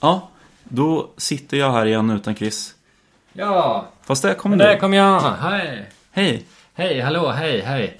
Ja, då sitter jag här igen utan Chris. Ja, Fast där kom där du. kom jag. Hej. Hej! Hej, hallå, hej, hej.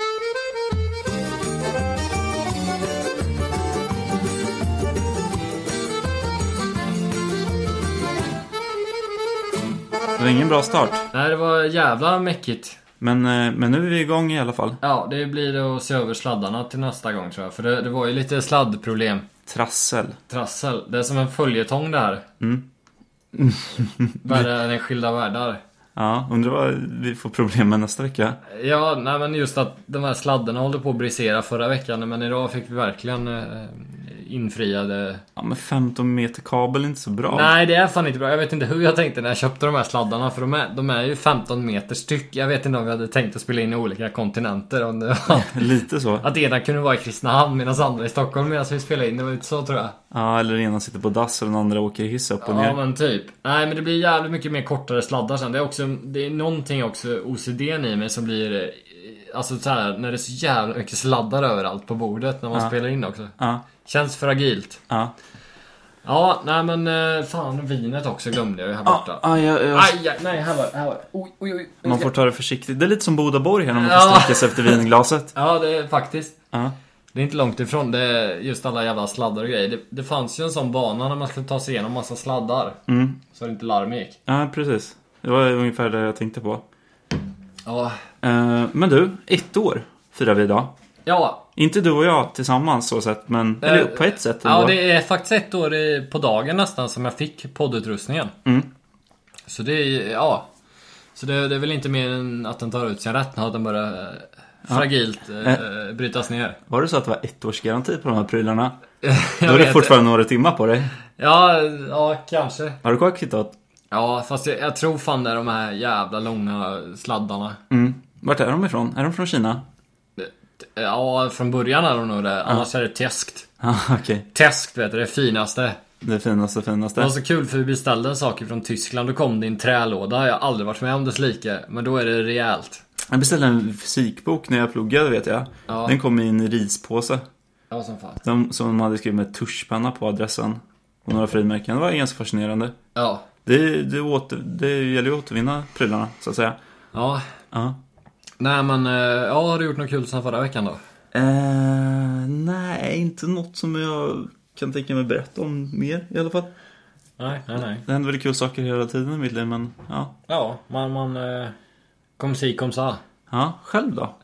Det var ingen bra start. Det här var jävla mäckigt. Men, eh, men nu är vi igång i alla fall. Ja, det blir att se över sladdarna till nästa gång tror jag. För det, det var ju lite sladdproblem. Trassel. Trassel. Det är som en följetong det här. Mm. Värre än i skilda världar. Ja, undrar vad vi får problem med nästa vecka. Ja, nej men just att de här sladdarna håller på att brisera förra veckan. Men idag fick vi verkligen eh, infriade... Ja, men 15 meter kabel är inte så bra. Nej, det är fan inte bra. Jag vet inte hur jag tänkte när jag köpte de här sladdarna. För de är, de är ju 15 meter styck. Jag vet inte om vi hade tänkt att spela in i olika kontinenter. Om det var... Lite så. Att ena kunde vara i Kristinehamn medan andra i Stockholm medan vi spelade in. Det var inte så tror jag. Ja, eller den ena sitter på dass och den andra åker hiss upp och Ja ner. men typ. Nej men det blir jävligt mycket mer kortare sladdar sen. Det är också, det är någonting också OCD i mig som blir eh, Alltså så här, när det är så jävla mycket sladdar överallt på bordet när man Ja. spelar in också. Ja, Känns fragilt. ja. Ja, nej men eh, fan vinet också glömde jag ju här Ja, borta. ja, ja, ja. Aj, aj, nej här var det, här var det. Oj, oj, oj. Man får ta det försiktigt. Det är lite som Bodaborg här när man Ja. får sträcka sig efter vinglaset. Ja det är faktiskt. Ja. Det är inte långt ifrån. Det är just alla jävla sladdar och grejer. Det, det fanns ju en sån bana när man skulle ta sig igenom massa sladdar. Mm. Så det inte larm gick. ja, precis. Det var ungefär det jag tänkte på. Ja. Eh, Men du, ett år firar vi idag. Ja. Inte du och jag tillsammans så sett, men Eh, eller på ett sätt ändå. ja, det är faktiskt ett år i- på dagen nästan som jag fick poddutrustningen. Mm. Så det är, ja. Så det, det är väl inte mer än att den tar ut sin rätt när den börjar eh, fragilt eh, brytas ner. Var det så att det var ettårsgaranti på de här prylarna? Jag Då är vet det fortfarande några timmar på dig. Ja, ja kanske. Har du kvar kvittot? Ja, fast jag, jag tror fan det är de här jävla långa sladdarna. Mm. Vart är de ifrån? Är de från Kina? Ja, från början är de nog det. Annars är det teskt. Ja, Ah, okej. Teskt vet du, det finaste. Det finaste finaste. Det var så kul för vi beställde saker från Tyskland. Då kom det i en trälåda. Jag har aldrig varit med om dess like. Men då är det rejält. Jag beställde en fysikbok när jag pluggade vet jag. Ja. Den kom i en rispåse. Ja, som fan. De, som de hade skrivit med tuschpenna på adressen. Och några frimärken. Det var ganska fascinerande. Ja. Det, det, åter, det gäller ju att återvinna prylarna, så att säga. Ja. Ja. Nej men, eh, ja har du gjort något kul sen förra veckan då? Eh, nej, inte något som jag kan tänka mig berätta om mer i alla fall. Nej, nej, nej. Det händer väl kul saker hela tiden i mitt liv, men ja. Ja, man, man... eh, Kom si, kom sa. Ja, själv då?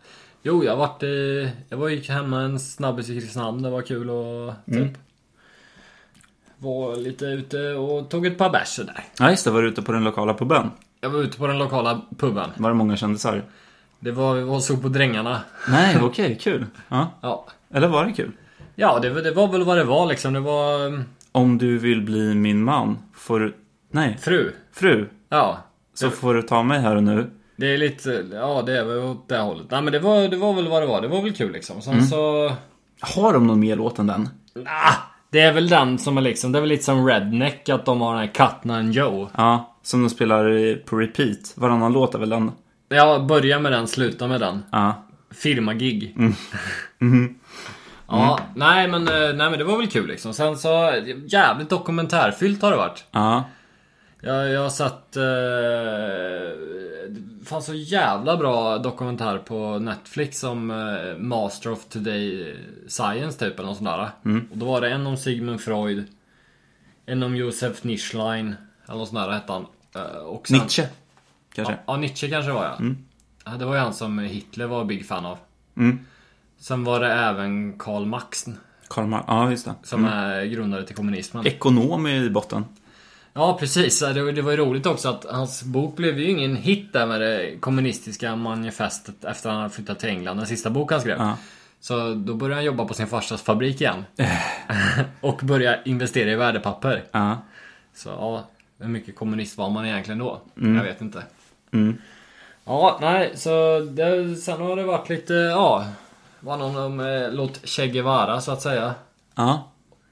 Jo, jag vart i... Jag var gick hemma en snabbis i Kristinehamn. Det var kul och typ... Var lite ute och tog ett par bärs där. Ja, just det. Var du ute på den lokala puben? Jag var ute på den lokala puben. Var det många kändisar? Det var, vi var och såg på Drängarna. Nej, okej, kul. Ja. Ja. Eller var det kul? Ja, det, var- det var väl vad det var liksom. Det var mm, Om du vill bli min man får du... Nej, fru. fru. Ja. Så får du ta mig här och nu. Det är lite, ja det är väl åt det hållet. Nej men det var, det var väl vad det var. Det var väl kul liksom. Sen så... Har de någon mer låt än den? Ah, det är väl den som är liksom, det är väl lite som Redneck att de har den här Katna and Joe. Ja, som de spelar eh, på repeat. Varannan låt är väl den? Ja, börja med den, sluta med den. Ja. Firmagig. Ja, nej men, eh, nej men det var väl kul liksom. Sen så, jävligt dokumentärfyllt har det varit. Ja. Jag, jag satt... Eh, det fanns så jävla bra dokumentär på Netflix om eh, Master of Today Science typ eller något sånt där. Och då var det en om Sigmund Freud. En om Josef Nischlein. Eller något sånt där hette han. Eh, och sen- Nietzsche, Mm. kanske? Ja, Nietzsche kanske det var ja. ja. Det var ju han som Hitler var big fan av. Mm. Sen var det även Karl Marx Karl Marx. Ja, just det. som är grundare till kommunismen. Ekonom i botten. Ja precis, det var, det var ju roligt också att hans bok blev ju ingen hit där med det kommunistiska manifestet efter han hade flyttat till England, den sista bok han skrev. Ja. Eh. Så då började han jobba på sin farsas fabrik igen. och började investera i värdepapper. Ja. Så ja, hur mycket kommunist var man egentligen då? Mm. Jag vet inte. Ja, nej, så det, sen har det varit lite, ja, var någon om eh, låt Che Guevara så att säga. Ja.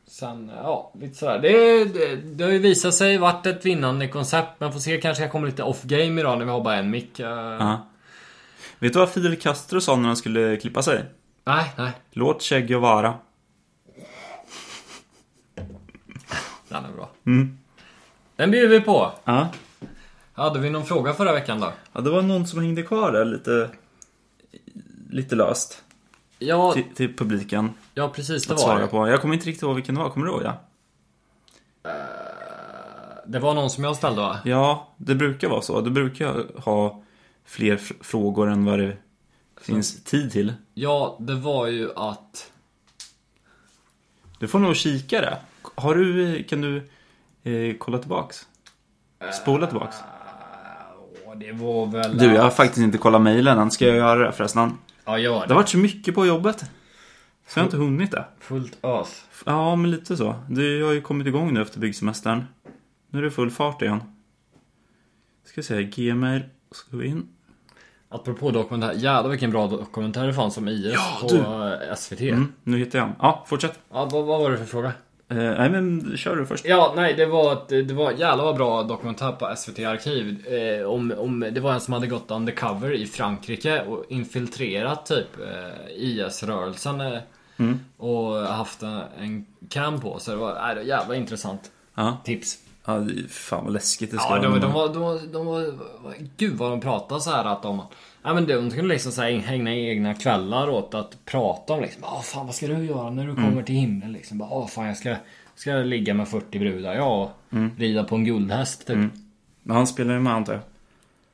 Sen, ja, lite sådär. Det, det, det har ju visat sig varit ett vinnande koncept. Men får se, kanske jag kommer lite off game idag när vi har bara en mick. Eh, ja. Vet du vad Fidel Castro sa när han skulle klippa sig? Nej, nej. Låt Che Guevara. Den är bra. Mm. Den bjuder vi på. Ja. Hade vi någon fråga förra veckan då? ja, det var någon som hängde kvar där lite, lite löst Ja, till, till publiken ja precis det att var svara det. på. Jag kommer inte riktigt ihåg vilken det var, kommer du ihåg det? Det var någon som jag ställde va? Ja, det brukar vara så. Du brukar ha fler fr- frågor än vad det finns tid till. Ja, det var ju att... Du får nog kika det. Har du, eh, kan du eh, kolla tillbaks? Eh, Spola tillbaks? Åh, det var väl... Du, jag har faktiskt inte kollat mejlen än. Ska jag göra det förresten? Ja, gör Det det. har varit så mycket på jobbet. Så jag har inte hunnit det. Fullt ös. Ja, men lite så. Du har ju kommit igång nu efter byggsemestern. Nu är det full fart igen. Ska se, gmail. Ska vi in? Apropå dokumentär, jävlar vilken bra dokumentär det fanns om IS på du. eh, SVT. Mm, nu hittar jag den. Ja, fortsätt. Ja, vad, vad var det för fråga? Eh, nej, men kör du först. Ja, nej, det var, ett- det var en jävla vad bra dokumentär på SVT Arkiv. Eh, om, om, det var en som hade gått undercover i Frankrike och infiltrerat typ eh, IS-rörelsen. Eh, Mm. Och haft en, en cam på sig. Det var nej, det var jävla intressant Ja. tips. ja det är fan vad läskigt det ska Ja, de, vara. de, var, de, var, de var... Gud vad de pratade så här att de... Ja men de skulle liksom så här ägna egna kvällar åt att prata om liksom. Ah fan vad ska du göra när du Mm. kommer till himlen liksom? Bara, Ah fan jag ska, ska ligga med 40 brudar ja och Mm. rida på en guldhäst typ. Men han spelar ju med antar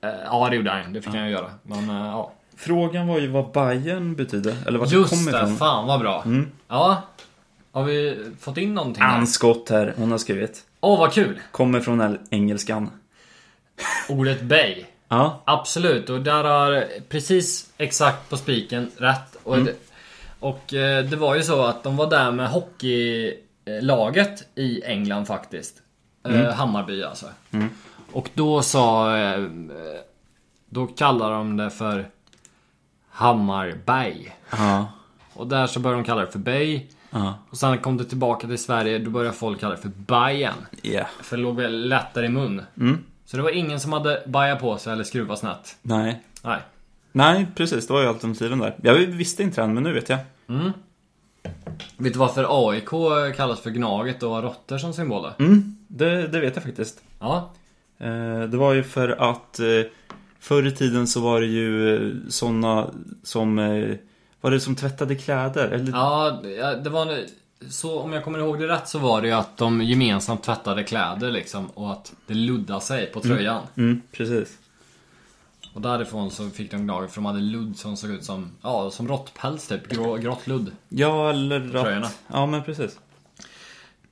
jag. Eh, ja det gjorde han Det fick han ju göra. Men eh, ja. Frågan var ju vad Bayern betyder. Eller vart det Just kommer det, ifrån. Mm. fan vad bra. Ja. Har vi fått in någonting? här? Ann Scott här, hon har skrivit. Åh vad kul! Kommer från el- engelskan. Ordet bay. Ja, Absolut, och där har precis exakt på spiken rätt. Och, det, och eh, det var ju så att de var där med hockeylaget i England faktiskt. Eh, Hammarby alltså. Och då sa... eh, Då kallade de det för Hammarbay. ja, Och där så började de kalla det för Bay. ja. Och sen kom det tillbaka till Sverige, då började folk kalla det för Bayern. Yeah. För det låg väl lättare i mun. Så det var ingen som hade bajat på sig eller skruvat snett. Nej. Nej. Nej, precis. Det var ju alternativen där. Jag visste inte den, men nu vet jag. Vet du varför AIK kallas för Gnaget och har råttor som symboler? Mm, det, det vet jag faktiskt. Ja. Eh, Det var ju för att eh, förr i tiden så var det ju eh, såna som eh, var det som tvättade kläder? Eller, ja, det var en, så om jag kommer ihåg det rätt så var det ju att de gemensamt tvättade kläder liksom och att det luddade sig på tröjan. Mm, precis. Och därifrån så fick de Gnaget för de hade ludd som såg ut som, ja, som råttpäls typ. Grå, grått ludd. Ja, eller Tröjorna. att... Ja, men precis.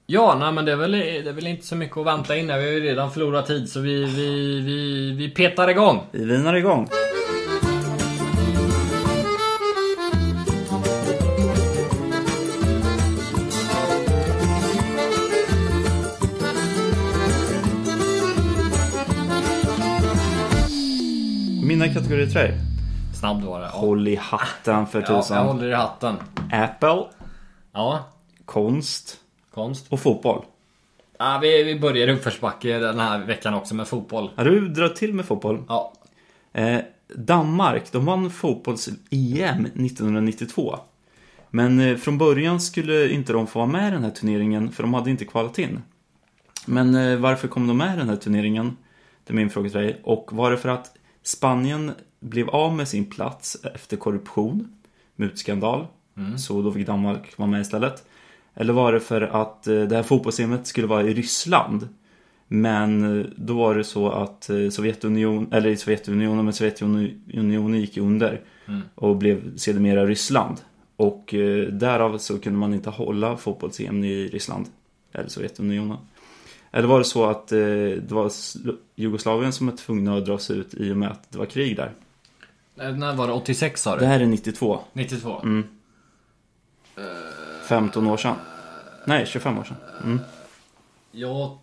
Ja, nej men det är, väl, det är väl inte så mycket att vänta in där. Vi har ju redan förlorat tid så vi, vi, vi, vi petar igång. Vi vinar igång. Mina kategorier tröjor. Snabbt var det. Ja. Håll i hatten för Ja, jag tusan. håller i hatten. Apple, Ja, konst konst. och fotboll. Ja, vi, vi börjar i uppförsbacke den här veckan också med fotboll. Har du dragit till med fotboll? Ja, Eh, Danmark, de vann fotbolls-EM 1992. Men eh, från början skulle inte de få vara med i den här turneringen för de hade inte kvalat in. Men eh, varför kom de med i den här turneringen? Det är min fråga till dig. Och var det för att Spanien blev av med sin plats efter korruption, mutskandal, så då fick Danmark vara med istället? Eller var det för att eh, det här fotbolls skulle vara i Ryssland? Men eh, då var det så att eh, Sovjetunionen, eller i Sovjetunionen, men Sovjetunionen gick ju under Mm. och blev sedermera Ryssland. Och eh, därav så kunde man inte hålla fotbolls i Ryssland, eller Sovjetunionen. Eller var det så att eh, det var Slo- Jugoslavien som var tvungna att dra sig ut i och med att det var krig där? eh, när var det? 86 sa Det du? här är 92, 92? Mm. 15 år sedan. Nej, 25 år sedan. Mm. Ja,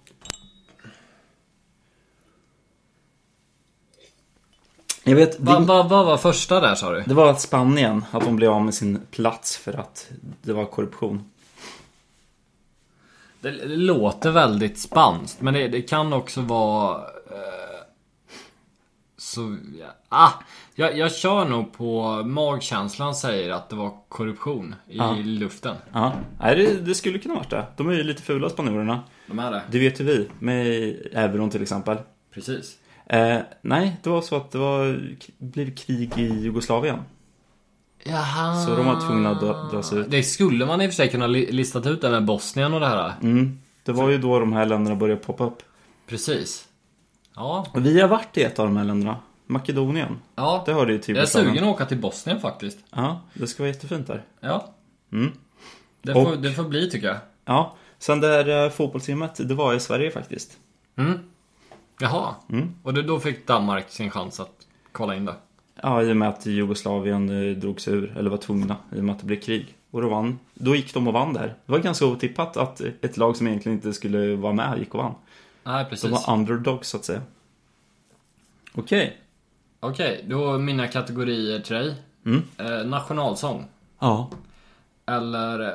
Jag vet, vad det, va, va var första där sa du? det var att Spanien, att de blev av med sin plats för att det var korruption. Det, det låter väldigt spanskt, men det, det kan också vara... Eh, så... Ja, ah, jag, jag kör nog på magkänslan säger att det var korruption i luften. Ja, nej, det, det skulle kunna varit det. De är ju lite fula spanjorerna. De är det. Det vet ju vi, med euron till exempel. Precis. Eh, nej, det var så att det var, blev krig i Jugoslavien. Jaha. Så de var tvungna att dra- dra sig ut. Det skulle man i och för sig kunna li- listat ut det med Bosnien och det här. Mm. Det var ju då de här länderna började poppa upp. Precis. Ja. Och vi har varit i ett av de här länderna. Makedonien. Ja. Det hörde ju till Jag är Jugoslavien. sugen att åka till Bosnien faktiskt. Ja, det ska vara jättefint där. Ja. Mm. Det, Och- får, det får bli tycker jag. Ja, sen det här eh, fotbollsteamet, det var i Sverige faktiskt. Mm. Jaha. Mm. Och det, då fick Danmark sin chans att kolla in det. Ja, i och med att Jugoslavien eh, drog sig ur, eller var tvungna, i och med att det blev krig. Och då vann. Då gick de och vann där. Det var ganska otippat att ett lag som egentligen inte skulle vara med gick och vann. Nej, De precis. var underdogs så att säga. Okej. Okej, då mina kategorier till dig. Mm. Eh, nationalsång. Ja. Eller eh,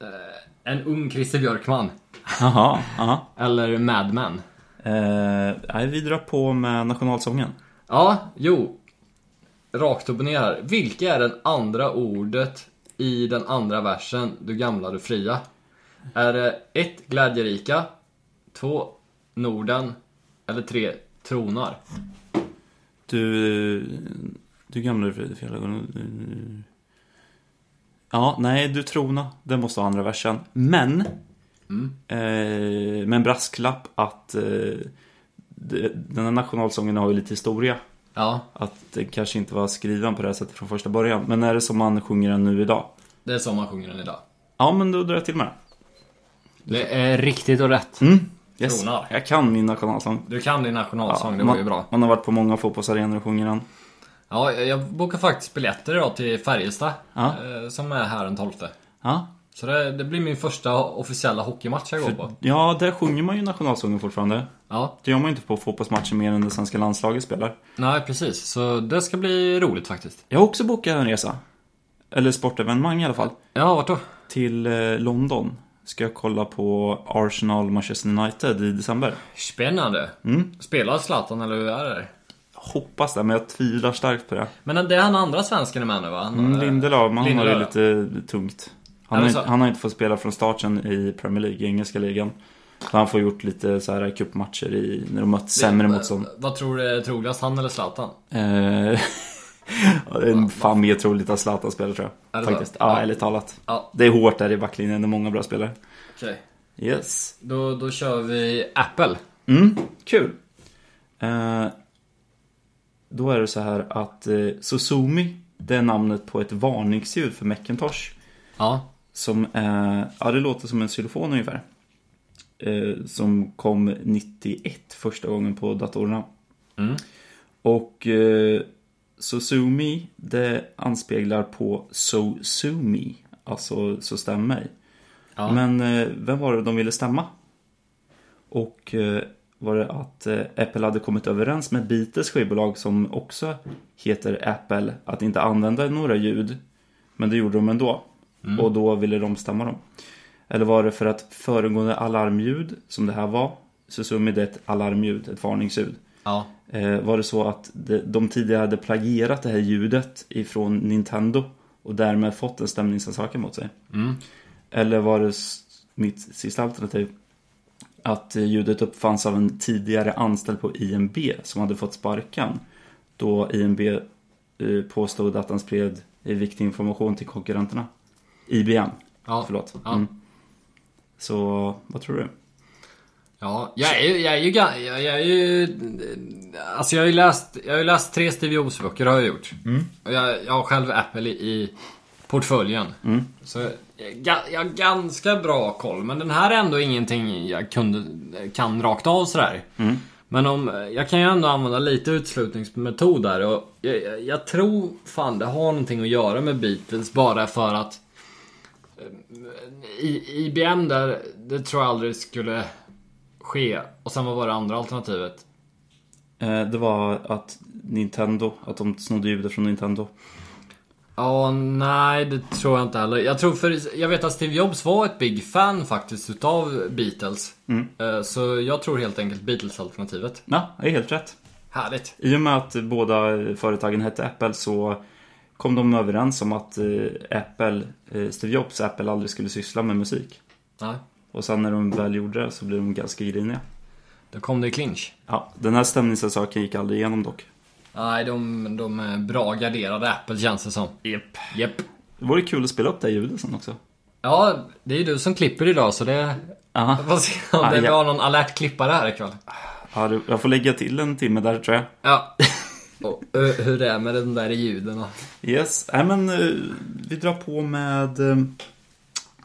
eh, En ung Christer Björkman. Jaha, aha. Eller Mad Men. Eh, nej, vi drar på med nationalsången. Ja, jo. Rakt upp och ner här. Vilka är den andra ordet i den andra versen Du gamla du fria? Är det 1. Glädjerika 2. Norden Eller 3. Tronar? Du... Du gamla fjällögon. eh, Ja, nej, du trona. Det måste vara andra versen. Men... Mm. Eh, med en brasklapp att... Eh, det- den här nationalsången har ju lite historia. Ja, Att det kanske inte var skriven på det här sättet från första början. Men är det som man sjunger den nu idag? det är så man sjunger den idag. Ja, men då drar jag till med Det är riktigt och rätt. den. Mm. Yes. Tronar. Jag kan min nationalsång. Du kan din nationalsång, det var man, ju bra. man har varit på många fotbollsarenor och sjunger den. Ja, jag bokar faktiskt biljetter idag till Färjestad. Ja. eh, Som är här den 12. Ja, Så det, det blir min första officiella hockeymatch jag går på. ja där sjunger man ju nationalsången fortfarande. Ja, Det gör man ju inte på fotbollsmatcher mer än det svenska landslaget spelar. nej precis. Så det ska bli roligt faktiskt. Jag har också bokat en resa. Eller sportevenemang i alla fall. Ja, vart då? Till eh, London. Ska jag kolla på Arsenal Manchester United i december. Spännande. Spelar Zlatan eller hur är det? Jag hoppas det, men jag tvivlar starkt på det. Men det är han andra svensken är med nu va? Han, Mm, eh, Lindelöf, man har det Lindelöf. lite tungt. Han har, Ja, men inte, så- han har inte fått spela från starten i Premier League, i engelska ligan. Så han får gjort lite så här cupmatcher i, när de mött sämre motstånd. Eh, Vad tror du är troligast, han eller Zlatan? Eh, ja, det är fan mer troligt att Zlatan spelar tror Är jag. det Faktiskt. så? Ja, Ja. ärligt talat. Ja, Det är hårt där i backlinjen, det är många bra spelare. okej. Yes. Då, då kör vi Apple. Mm, kul. Eh, då är det så här att eh, Susumi, det är namnet på ett varningsljud för Macintosh. Ja. Som är, ja det låter som en xylofon ungefär. Eh, som kom 91 första gången på datorerna. Mm. Och eh, Sosumi, det anspeglar på Sosumi. Alltså, så stäm mig. Ja. Men eh, vem var det de ville stämma? Och eh, var det att eh, Apple hade kommit överens med Beatles skivbolag som också heter Apple att inte använda några ljud. Men det gjorde de ändå. Och då ville de stämma dem. Eller var det för att föregående alarmljud, som det här var, Susumi det är ett alarmljud, ett varningsljud. Ja. Eh, var det så att de, de tidigare hade plagierat det här ljudet ifrån Nintendo och därmed fått en stämningsansökan mot sig? Mm. Eller var det s- mitt sista alternativ? Att eh, ljudet uppfanns av en tidigare anställd på IMB som hade fått sparken. Då IMB eh, påstod att han spred eh, viktig information till konkurrenterna. IBM, Ja. förlåt. Ja. Mm. Så vad tror du? Ja, jag är ju, jag är ju, ga- jag, jag är ju Alltså jag har ju läst, jag har ju läst tre Steve Jobs böcker har jag gjort. Och jag, jag har själv Apple i, i portföljen. Så jag, ga- jag har ganska bra koll. Men den här är ändå ingenting jag kunde, kan rakt av sådär. Men om, jag kan ju ändå använda lite utslutningsmetod där. Och jag, jag, jag tror fan det har någonting att göra med Beatles bara för att eh, i, IBM där, det tror jag aldrig skulle ske. Och sen vad var det andra alternativet? Eh, det var att Nintendo, att de snodde ljudet från Nintendo. Ja, nej det tror jag inte heller. Jag tror för, jag vet att Steve Jobs var ett big fan faktiskt utav Beatles. Mm. Eh, Så jag tror helt enkelt Beatles-alternativet. Ja, det är helt rätt. Härligt. I och med att båda företagen hette Apple så kom de överens om att eh, Apple, eh, Steve Jobs Apple aldrig skulle syssla med musik. Nej. Och sen när de väl gjorde det så blev de ganska griniga. Då kom det i clinch. Ja, den här stämningssaken gick aldrig igenom dock. Nej, de, de är bra garderade Apple känns det som. Yep. Japp. Det vore kul att spela upp det här ljudet sen också. Ja, det är ju du som klipper idag så det... Aha. Får se om Ah, det ja. blir någon alert klippare här ikväll. Ja, du- jag får lägga till en timme där tror jag. Ja. Och ö, hur det är med de där ljuden och... Yes, nej men eh, vi drar på med... eh,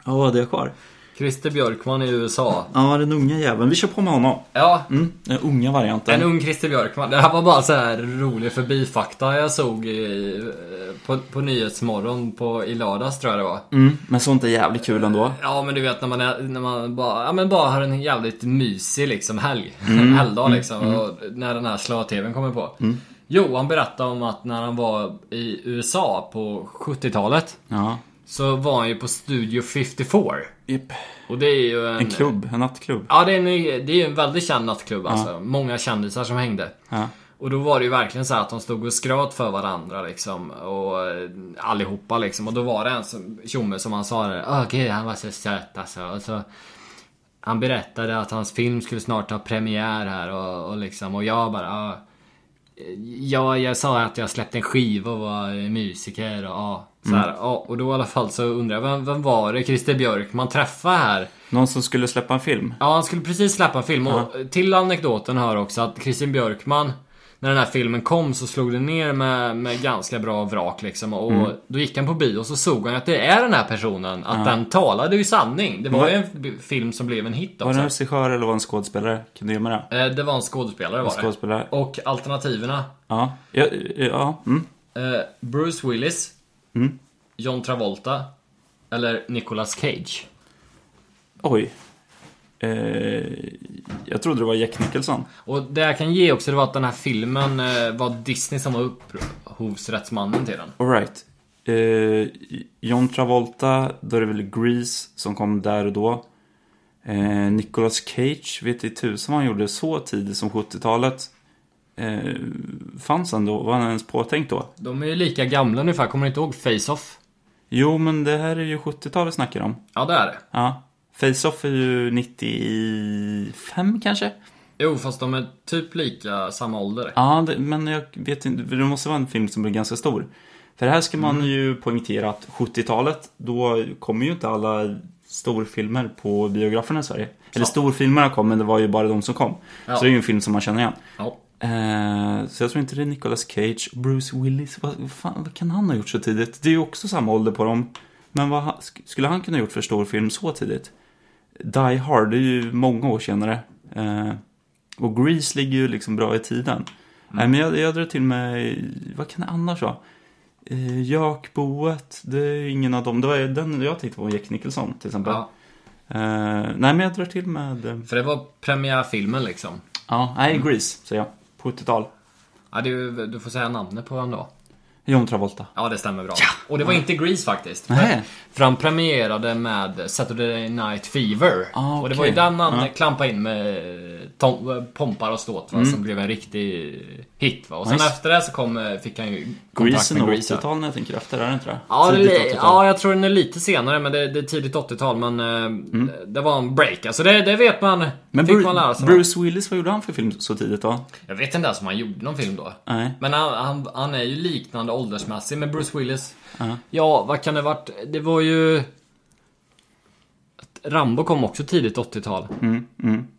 Ja, vad hade jag kvar? Christer Björkman i USA. Ja, den unga jäveln. Vi kör på med honom. Ja, Mm, den unga varianten. En ung Christer Björkman. Det här var bara så här rolig förbifakta jag såg i, eh, på, på Nyhetsmorgon på, i lördags tror jag det var. Mm, men sånt är jävligt kul ändå. Ja men du vet när man, är, när man bara, ja, men bara har en jävligt mysig liksom helg. Mm. Helgdag liksom. Och när den här slö-tvn kommer på. Mm. Johan berättade om att när han var i USA på 70-talet. Ja. Så var han ju på Studio 54. Yep. Och det är ju en... En klubb, en nattklubb. Ja det är, en, det är ju en väldigt känd nattklubb alltså. Många kändisar som hängde. Ja. Och då var det ju verkligen så här att de stod och skröt för varandra liksom. Och eh, allihopa liksom. Och då var det en som- tjomme som han sa det. Åh gud, han var så söt alltså. Och så, han berättade att hans film skulle snart ha premiär här och, och liksom. Och jag bara. "Ah, eh, Ja, jag sa att jag släppte en skiva och var eh, musiker och ja. Så här, ja, och då i alla fall så undrar jag, vem, vem var det Christer Björkman träffade här? Någon som skulle släppa en film. Ja, han skulle precis släppa en film. Och till anekdoten hör också att Kristin Björkman, när den här filmen kom så slog den ner med, med ganska bra vrak liksom. Och Mm. då gick han på bio och så såg han att det är den här personen. Att den talade ju sanning. Det var ju en b- film som blev en hit Var det också. en regissör eller var det en skådespelare? Kan du ge mig det? Eh, Det var en skådespelare var det. Skådespelare? Och alternativerna. Ja. Ja, ja mm. eh, Bruce Willis. John Travolta. Eller Nicolas Cage. Oj. Eh, jag trodde det var Jack Nicholson. Och det jag kan ge också det var att den här filmen eh, var Disney som var upphovsrättsmannen till den. Alright. Eh, John Travolta, då är det väl Grease som kom där och då. Eh, Nicolas Cage, vet i tusan vad han gjorde så tidigt som 70-talet. Eh, fanns han då? Var han ens påtänkt då? De är ju lika gamla ungefär, kommer ni inte ihåg Face-Off? Jo, men det här är ju 70-talet snackar om. Ja det är det. Ja. Face-Off är ju 95 kanske? Jo fast de är typ lika samma ålder. Ja, det, men jag vet inte. för Det måste vara en film som blir ganska stor. För här ska man ju poängtera att 70-talet, då kommer ju inte alla storfilmer på biograferna i Sverige. Eller storfilmerna kom, men det var ju bara de som kom. Ja. Så det är ju en film som man känner igen. Ja. Eh, så jag tror inte det är Nicolas Cage, Bruce Willis. Vad, vad fan, vad kan han ha gjort så tidigt? Det är ju också samma ålder på dem. Men vad ha- sk- skulle han kunna ha gjort för storfilm så tidigt? Die Hard, det är ju många år senare. Eh, och Grease ligger ju liksom bra i tiden. Nej, men jag, jag drar till mig, vad kan det annars vara? Eh, Jakboet, det är ingen av dem. Det var ju den jag tänkte på, Jack Nicholson till exempel. ja. Eh, nej, men jag drar till med, eh, För det var premiärfilmen liksom. ja, nej, Grease säger jag. På 80-tal. Ja, du, du får säga namnet på den då. John Travolta. Ja det stämmer bra. Och det var inte Grease faktiskt. Nej. För han premierade med Saturday Night Fever. Ah, Och det okej. var ju den han klampade in med eh, tom, pompar och ståt va, som blev en riktig hit va. Och sen Nice. efter det så kom, eh, fick han ju kontakt Grease är med nog Grease. ja. 80-tal när jag tänker efter, är det inte det? Ja, det, Tidigt är- 80-tal. ja, jag tror den är lite senare men det, det är tidigt 80-tal men eh, det var en break. Alltså det, det vet man. Mm. Men fick alltså. Bru- man lära sig. Bruce Willis, vad gjorde han för film så tidigt då? Jag vet inte ens om han gjorde någon film då. Nej. Men han, han, han är ju liknande åldersmässig med Bruce Willis. Ja, vad kan det varit? Det var ju... Rambo kom också tidigt 80-tal.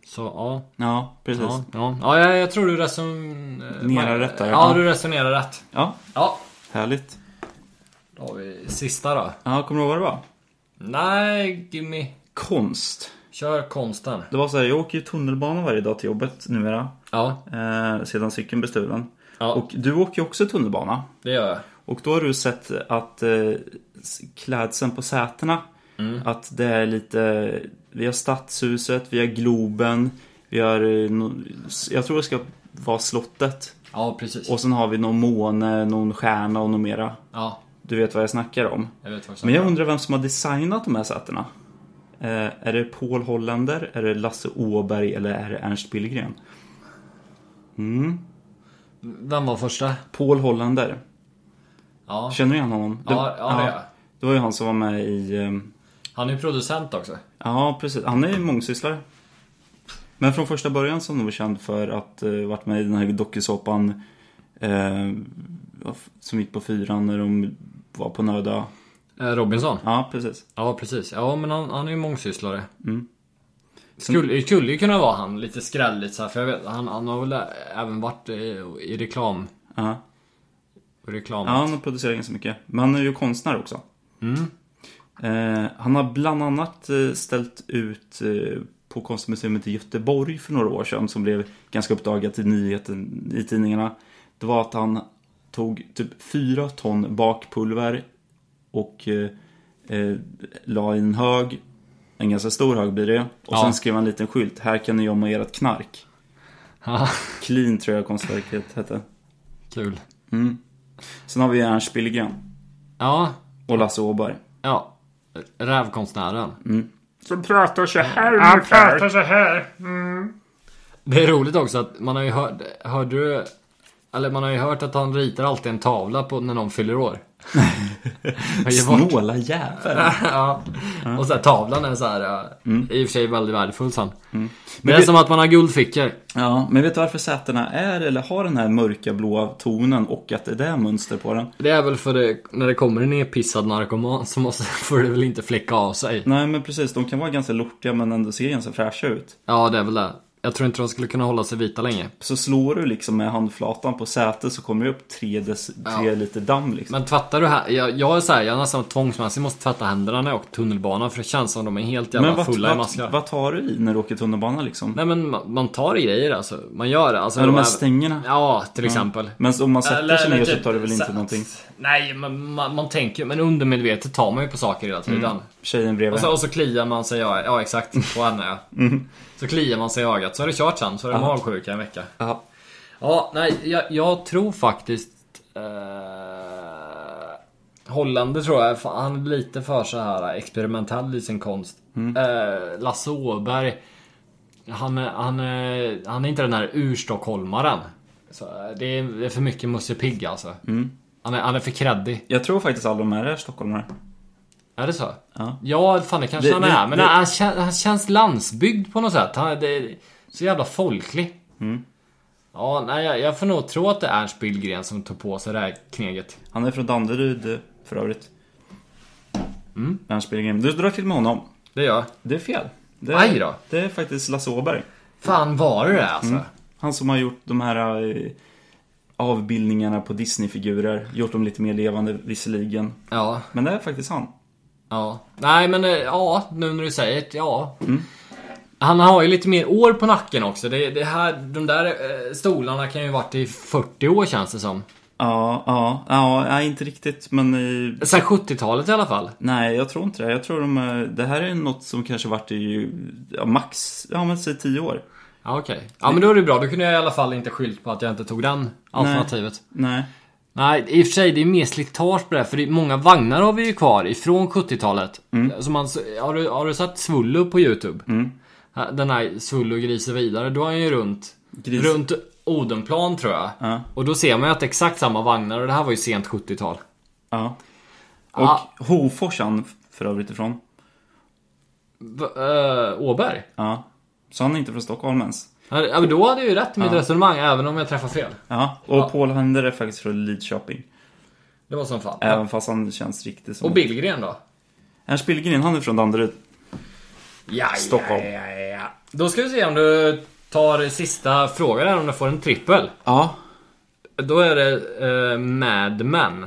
Så ja. Ja, Mm, precis. Ja, Ja, ja. ja jag, jag tror du resonerar Nerar rätt där, Ja, ja. du resonerar rätt. Ja. härligt. Då har vi sista då. Ja, kommer du ihåg vad det var? Nej, gimme. Konst. Kör konsten. Det var så här, jag åker ju tunnelbana varje dag till jobbet numera. Ja, Eh, sedan cykeln blev stulen. Ja. Och du åker ju också tunnelbana. det gör jag. Och då har du sett att eh, s- klädseln på sätena, Mm. att det är lite, vi har stadshuset, vi har Globen, vi har, eh, no, jag tror det ska vara slottet. Ja, precis. Och sen har vi någon måne, någon stjärna och något mera. Ja, Du vet vad jag snackar om. jag vet faktiskt Men jag inte. undrar vem som har designat de här sätena. Eh, är det Paul Hollander, är det Lasse Åberg eller är det Ernst Billgren? Vem var första? Paul Hollander. Ja, Känner du igen honom? Ja, ja, det gör jag. Det var ju han som var med i eh, Han är ju producent också. Ja, precis. Han är mångsysslare. Men från första början som de var känd för att uh, varit med i den här dokusåpan eh, som gick på fyran när de var på Nöda. Eh, Robinson? Ja, precis. Ja, precis. Ja, men han, han är ju mångsysslare. Mm. Skulle, skulle ju kunna vara han, lite skrälligt så här, för jag vet, han, han har väl ä- även varit eh, i reklam. Ja. reklam. Ja, han har producerat ganska mycket. Men han är ju konstnär också. Mm. Eh, han har bland annat eh, ställt ut eh, på Konstmuseet i Göteborg för några år sedan som blev ganska uppdagat i, nyheten, i tidningarna. Det var att han tog typ fyra ton bakpulver och eh, eh, la i en hög, en ganska stor hög blir det. Och Ja. sen skrev han en liten skylt, här kan ni gömma ert knark. Haha, Clean tror jag konstverket hette. Kul. Mm. Sen har vi Ernst Billgren Ja, och Lasse Åberg. ja. Rävkonstnären. Som pratar så här Det är roligt också att man har ju hört, hörde du, eller man har ju hört att han ritar alltid en tavla på när någon fyller år. Han ger bort- Snåla jävel. ja. Och så här, tavlan är så här, ja, Mm. i och för sig väldigt värdefull sen. Det är vi- som att man har guldfickor. Ja, men vet du varför sätena är eller har den här mörka blåa tonen och att det är mönster på den? Det är väl för det, när det kommer en pissad narkoman så måste, får det väl inte fläcka av sig. Nej, men precis. De kan vara ganska lortiga men ändå ser ganska fräscha ut. Ja, det är väl det. Jag tror inte de skulle kunna hålla sig vita länge. Så slår du liksom med handflatan på sätet så kommer det upp tre, dec- tre liter damm liksom. Men tvättar du här? Jag, jag är så här, jag nästan tvångsmässigt måste tvätta händerna när jag åker tunnelbana för det känns som de är helt jävla Men vad, fulla i maskar. vad, vad tar du i när du åker tunnelbana liksom? Nej men man, man tar i grejer alltså. Man gör det. Alltså, Med de här även- stängerna? Ja, till exempel. Men om man sätter sig Eller ner så typ tar du väl inte så- någonting? Nej, men man, man tänker Men undermedvetet tar man ju på saker hela tiden. Mm. Tjejen bredvid? Och, så, och så kliar man sig i ögat. Ja, exakt. På henne ja. Mm. Så kliar man sig i ögat. Så är det kört sen. Så är det magsjuka en vecka. Ja. Ja, nej, jag, jag tror faktiskt... Eh, Hollande tror jag, fan, han är lite för så här experimentell i sin konst. Eh, Lasse Åberg, han, är- han, är- han är inte den här urstockholmaren. Så eh, det, är, det är för mycket Musse Pigg alltså. Han, är, han är för kreddig. Jag tror faktiskt alla de här är stockholmare. Är det så? Ja. Ja, fan det kanske Det- han det- är. Men det- han, han, kän, han känns landsbygd på något sätt. Han det är så jävla folklig. Mm. Ja, nej jag, jag får nog tro att det är Ernst Billgren som tog på sig det här kneget. Han är från Danderyd eh, för övrigt. Mm. Ernst Billgren. Du drar till med honom. Det gör jag. Det är fel. Det är, Aj då. Det är faktiskt Lasse Åberg. Fan var det det alltså? Mm. Han som har gjort de här eh, avbildningarna på Disney-figurer. Gjort dem lite mer levande visserligen. Ja, Men det är faktiskt han. ja. Nej men eh, ja, nu när du säger det, ja. Mm. Han har ju lite mer år på nacken också. Det, det här, de där eh, stolarna kan ju varit i 40 år känns det som. Ja, ja, ja, nej, inte riktigt men eh, Sen 70-talet i alla fall. Nej, jag tror inte det. Jag tror de, eh, det här är något som kanske varit i ja, max, ja men säg 10 år. Ja, okej. Ja, men då är det bra. Då kunde jag i alla fall inte skyllt på att jag inte tog den alternativet. Nej. Nej, i och för sig, det är mer slitage på det här, för det är många vagnar har vi ju kvar ifrån 70-talet. Mm. Så man, har, du, har du sett Svullo på YouTube? Den här Svullo griser vidare, då är han ju runt, Gris. runt Odenplan tror jag. Ja. Och då ser man ju att det är exakt samma vagnar och det här var ju sent 70-tal. Ja. Och Ja. Hofors han för övrigt ifrån. V- eh, Åberg? Ja. Så han är inte från Stockholm ens. Ja, men då hade jag ju rätt i mitt resonemang, även om jag träffar fel. Ja, och Paul Hender är faktiskt från Lidköping. Det var som fan. Även fast han känns riktigt som... Och Billgren då? Ernst Billgren, han är från Danderyd. Ja, Stockholm. Ja, ja, ja. Då ska vi se om du tar sista frågan här om du får en trippel. Ja. Då är det eh, Mad Men.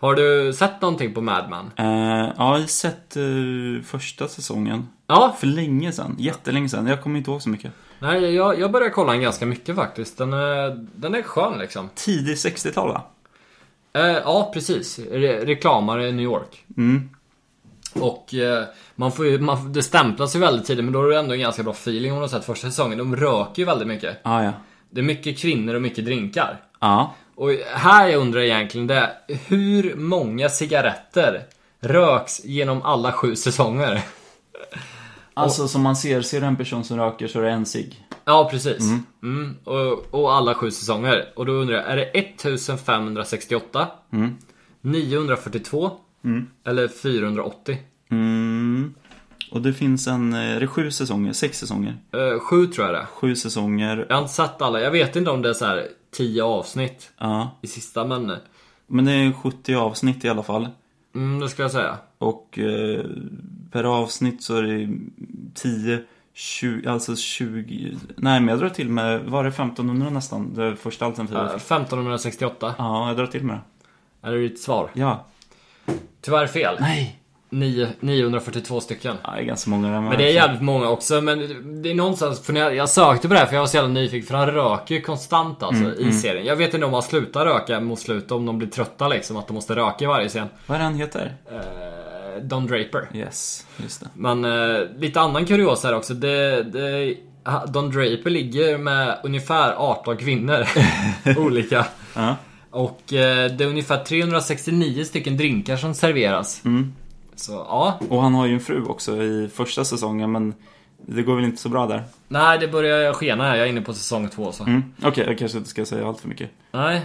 Har du sett någonting på Mad Men? Eh, ja, jag har sett eh, första säsongen. Ja, För länge sedan. Jättelänge sedan. Jag kommer inte ihåg så mycket. nej, jag, jag börjar kolla den ganska mycket faktiskt. Den är, den är skön liksom. Tidig 60-tal va? Eh, ja, precis. Re- reklamare i New York. Och eh, man får ju, man, det stämplas ju väldigt tidigt men då har du ändå en ganska bra feeling om du har sett första säsongen. De röker ju väldigt mycket. Ah, ja. Det är mycket kvinnor och mycket drinkar. Ja. Och här jag undrar egentligen det är hur många cigaretter röks genom alla sju säsonger? Alltså som man ser, ser du en person som röker så är det en cigg. Ja, precis. Mm. Och, och alla sju säsonger. Och då undrar jag, är det 1568? 942? Eller 480? Mm. Och det finns en, är det sju säsonger? Sex säsonger? Eh, sju tror jag det är. Sju säsonger. Jag har inte sett alla. Jag vet inte om det är så här 10 avsnitt Ja. i sista men eh, Men det är 70 avsnitt i alla fall. mm, det skulle jag säga. Och eh, per avsnitt så är det 10, 20, alltså 20. Nej men jag drar till med, var det 1500 nästan? Det första alternativet. Eh, 1568. Ja, jag drar till med det. Är det ditt svar? Ja. Tyvärr fel. Nej! Nio- 942 stycken. Ja, det är ganska många där Men det är jävligt många också men det är någonstans, för när jag, jag sökte på det här för jag var så jävla nyfiken för han röker ju konstant alltså Mm, i serien. Jag vet inte om han slutar röka mot slutet, om de blir trötta liksom, att de måste röka i varje scen. Vad är det han heter? Eh, Don Draper. Yes, just det. Men eh, lite annan kuriosa här också. Det, det, ha- Don Draper ligger med ungefär 18 kvinnor. olika. Ja. Och eh, det är ungefär 369 stycken drinkar som serveras. Mm. Så ja, Och han har ju en fru också i första säsongen men det går väl inte så bra där. nej det börjar skena här. Jag är inne på säsong två så. Mm. Okej, jag kanske inte ska säga allt för mycket. Nej.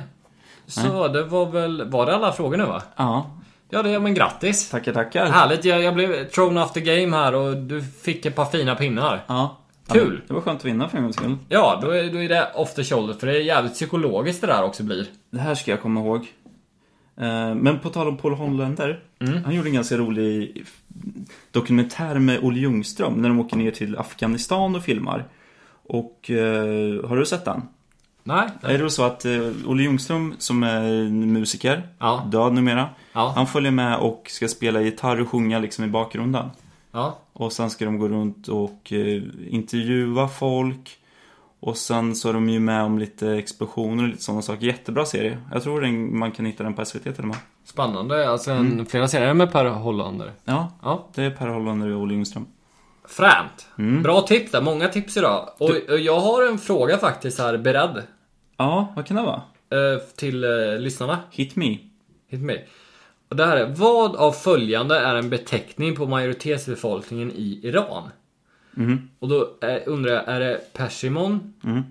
Så det var väl, var det alla frågor nu va? Ja, Ja, det, men grattis! tackar tackar. Härligt, jag, jag blev thrown off the game här och du fick ett par fina pinnar. Ja. Kul. Det var skönt att vinna för en gångs skull. Ja, då är, då är det off the shoulder för det är jävligt psykologiskt det där också blir. Det här ska jag komma ihåg. Eh, Men på tal om Paul Holländer. Mm. Han gjorde en ganska rolig dokumentär med Olle Ljungström när de åker ner till Afghanistan och filmar. Och eh, har du sett den? Nej? Är det så att eh, Olle Ljungström som är musiker, Ja. död numera. Ja. Han följer med och ska spela gitarr och sjunga liksom i bakgrunden. Ja. Och sen ska de gå runt och eh, intervjua folk. Och sen så är de ju med om lite explosioner och lite sådana saker. Jättebra serie. Jag tror den, man kan hitta den på SVT till och med. Spännande. Alltså en, flera serier med Per Hollander. Ja, Ja. det är Per Hollander och Olle Ljungström. Fränt! Bra tips där. Många tips idag. Och, och jag har en fråga faktiskt här beredd. Ja, vad kan det vara? eh, Till eh, lyssnarna. Hit me. Hit me. Och det här är, vad av följande är en beteckning på majoritetsbefolkningen i Iran? Mhm. Och då är, undrar jag, är det persimon? Mm.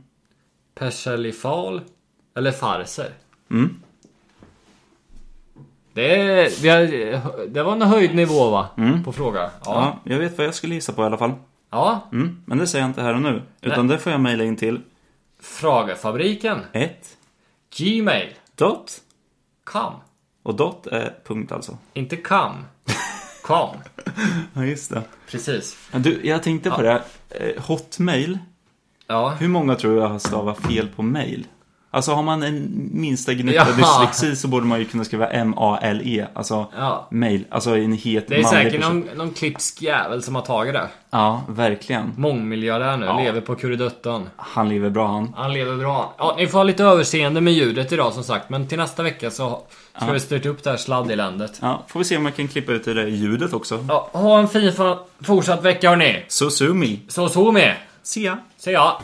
Persalifal? Eller farser? Mm. Det, är, vi har, det var en höjd nivå va? På fråga. Ja. Mm. Ja, jag vet vad jag skulle gissa på i alla fall. ja. Mm, men det säger jag inte här och nu. Utan det får jag mejla in till Frågefabriken. ett Gmail. dot. Kom. Och dot är punkt alltså. Inte kam. Kom. Ja, just det. Precis. Du, jag tänkte på det. Eh, Hotmail. Ja. Hur många tror jag har stavat fel på mail? Alltså har man en minsta gnutta Ja. dyslexi så borde man ju kunna skriva M-A-L-E. Alltså Ja. mail. Alltså en het Det är manlig säkert person. någon, någon klipsk jävel som har tagit det. Ja, verkligen. Mångmiljardär nu, lever på kuriduttan. Han lever bra han. Han lever bra. Ja, ni får ha lite överseende med ljudet idag som sagt, men till nästa vecka så ska vi styrt upp det här sladdeländet. Ja, får vi se om jag kan klippa ut det där ljudet också. Ja, ha en fin fa- fortsatt vecka hörni. Susumi. Så så med. Se ya. Se ja.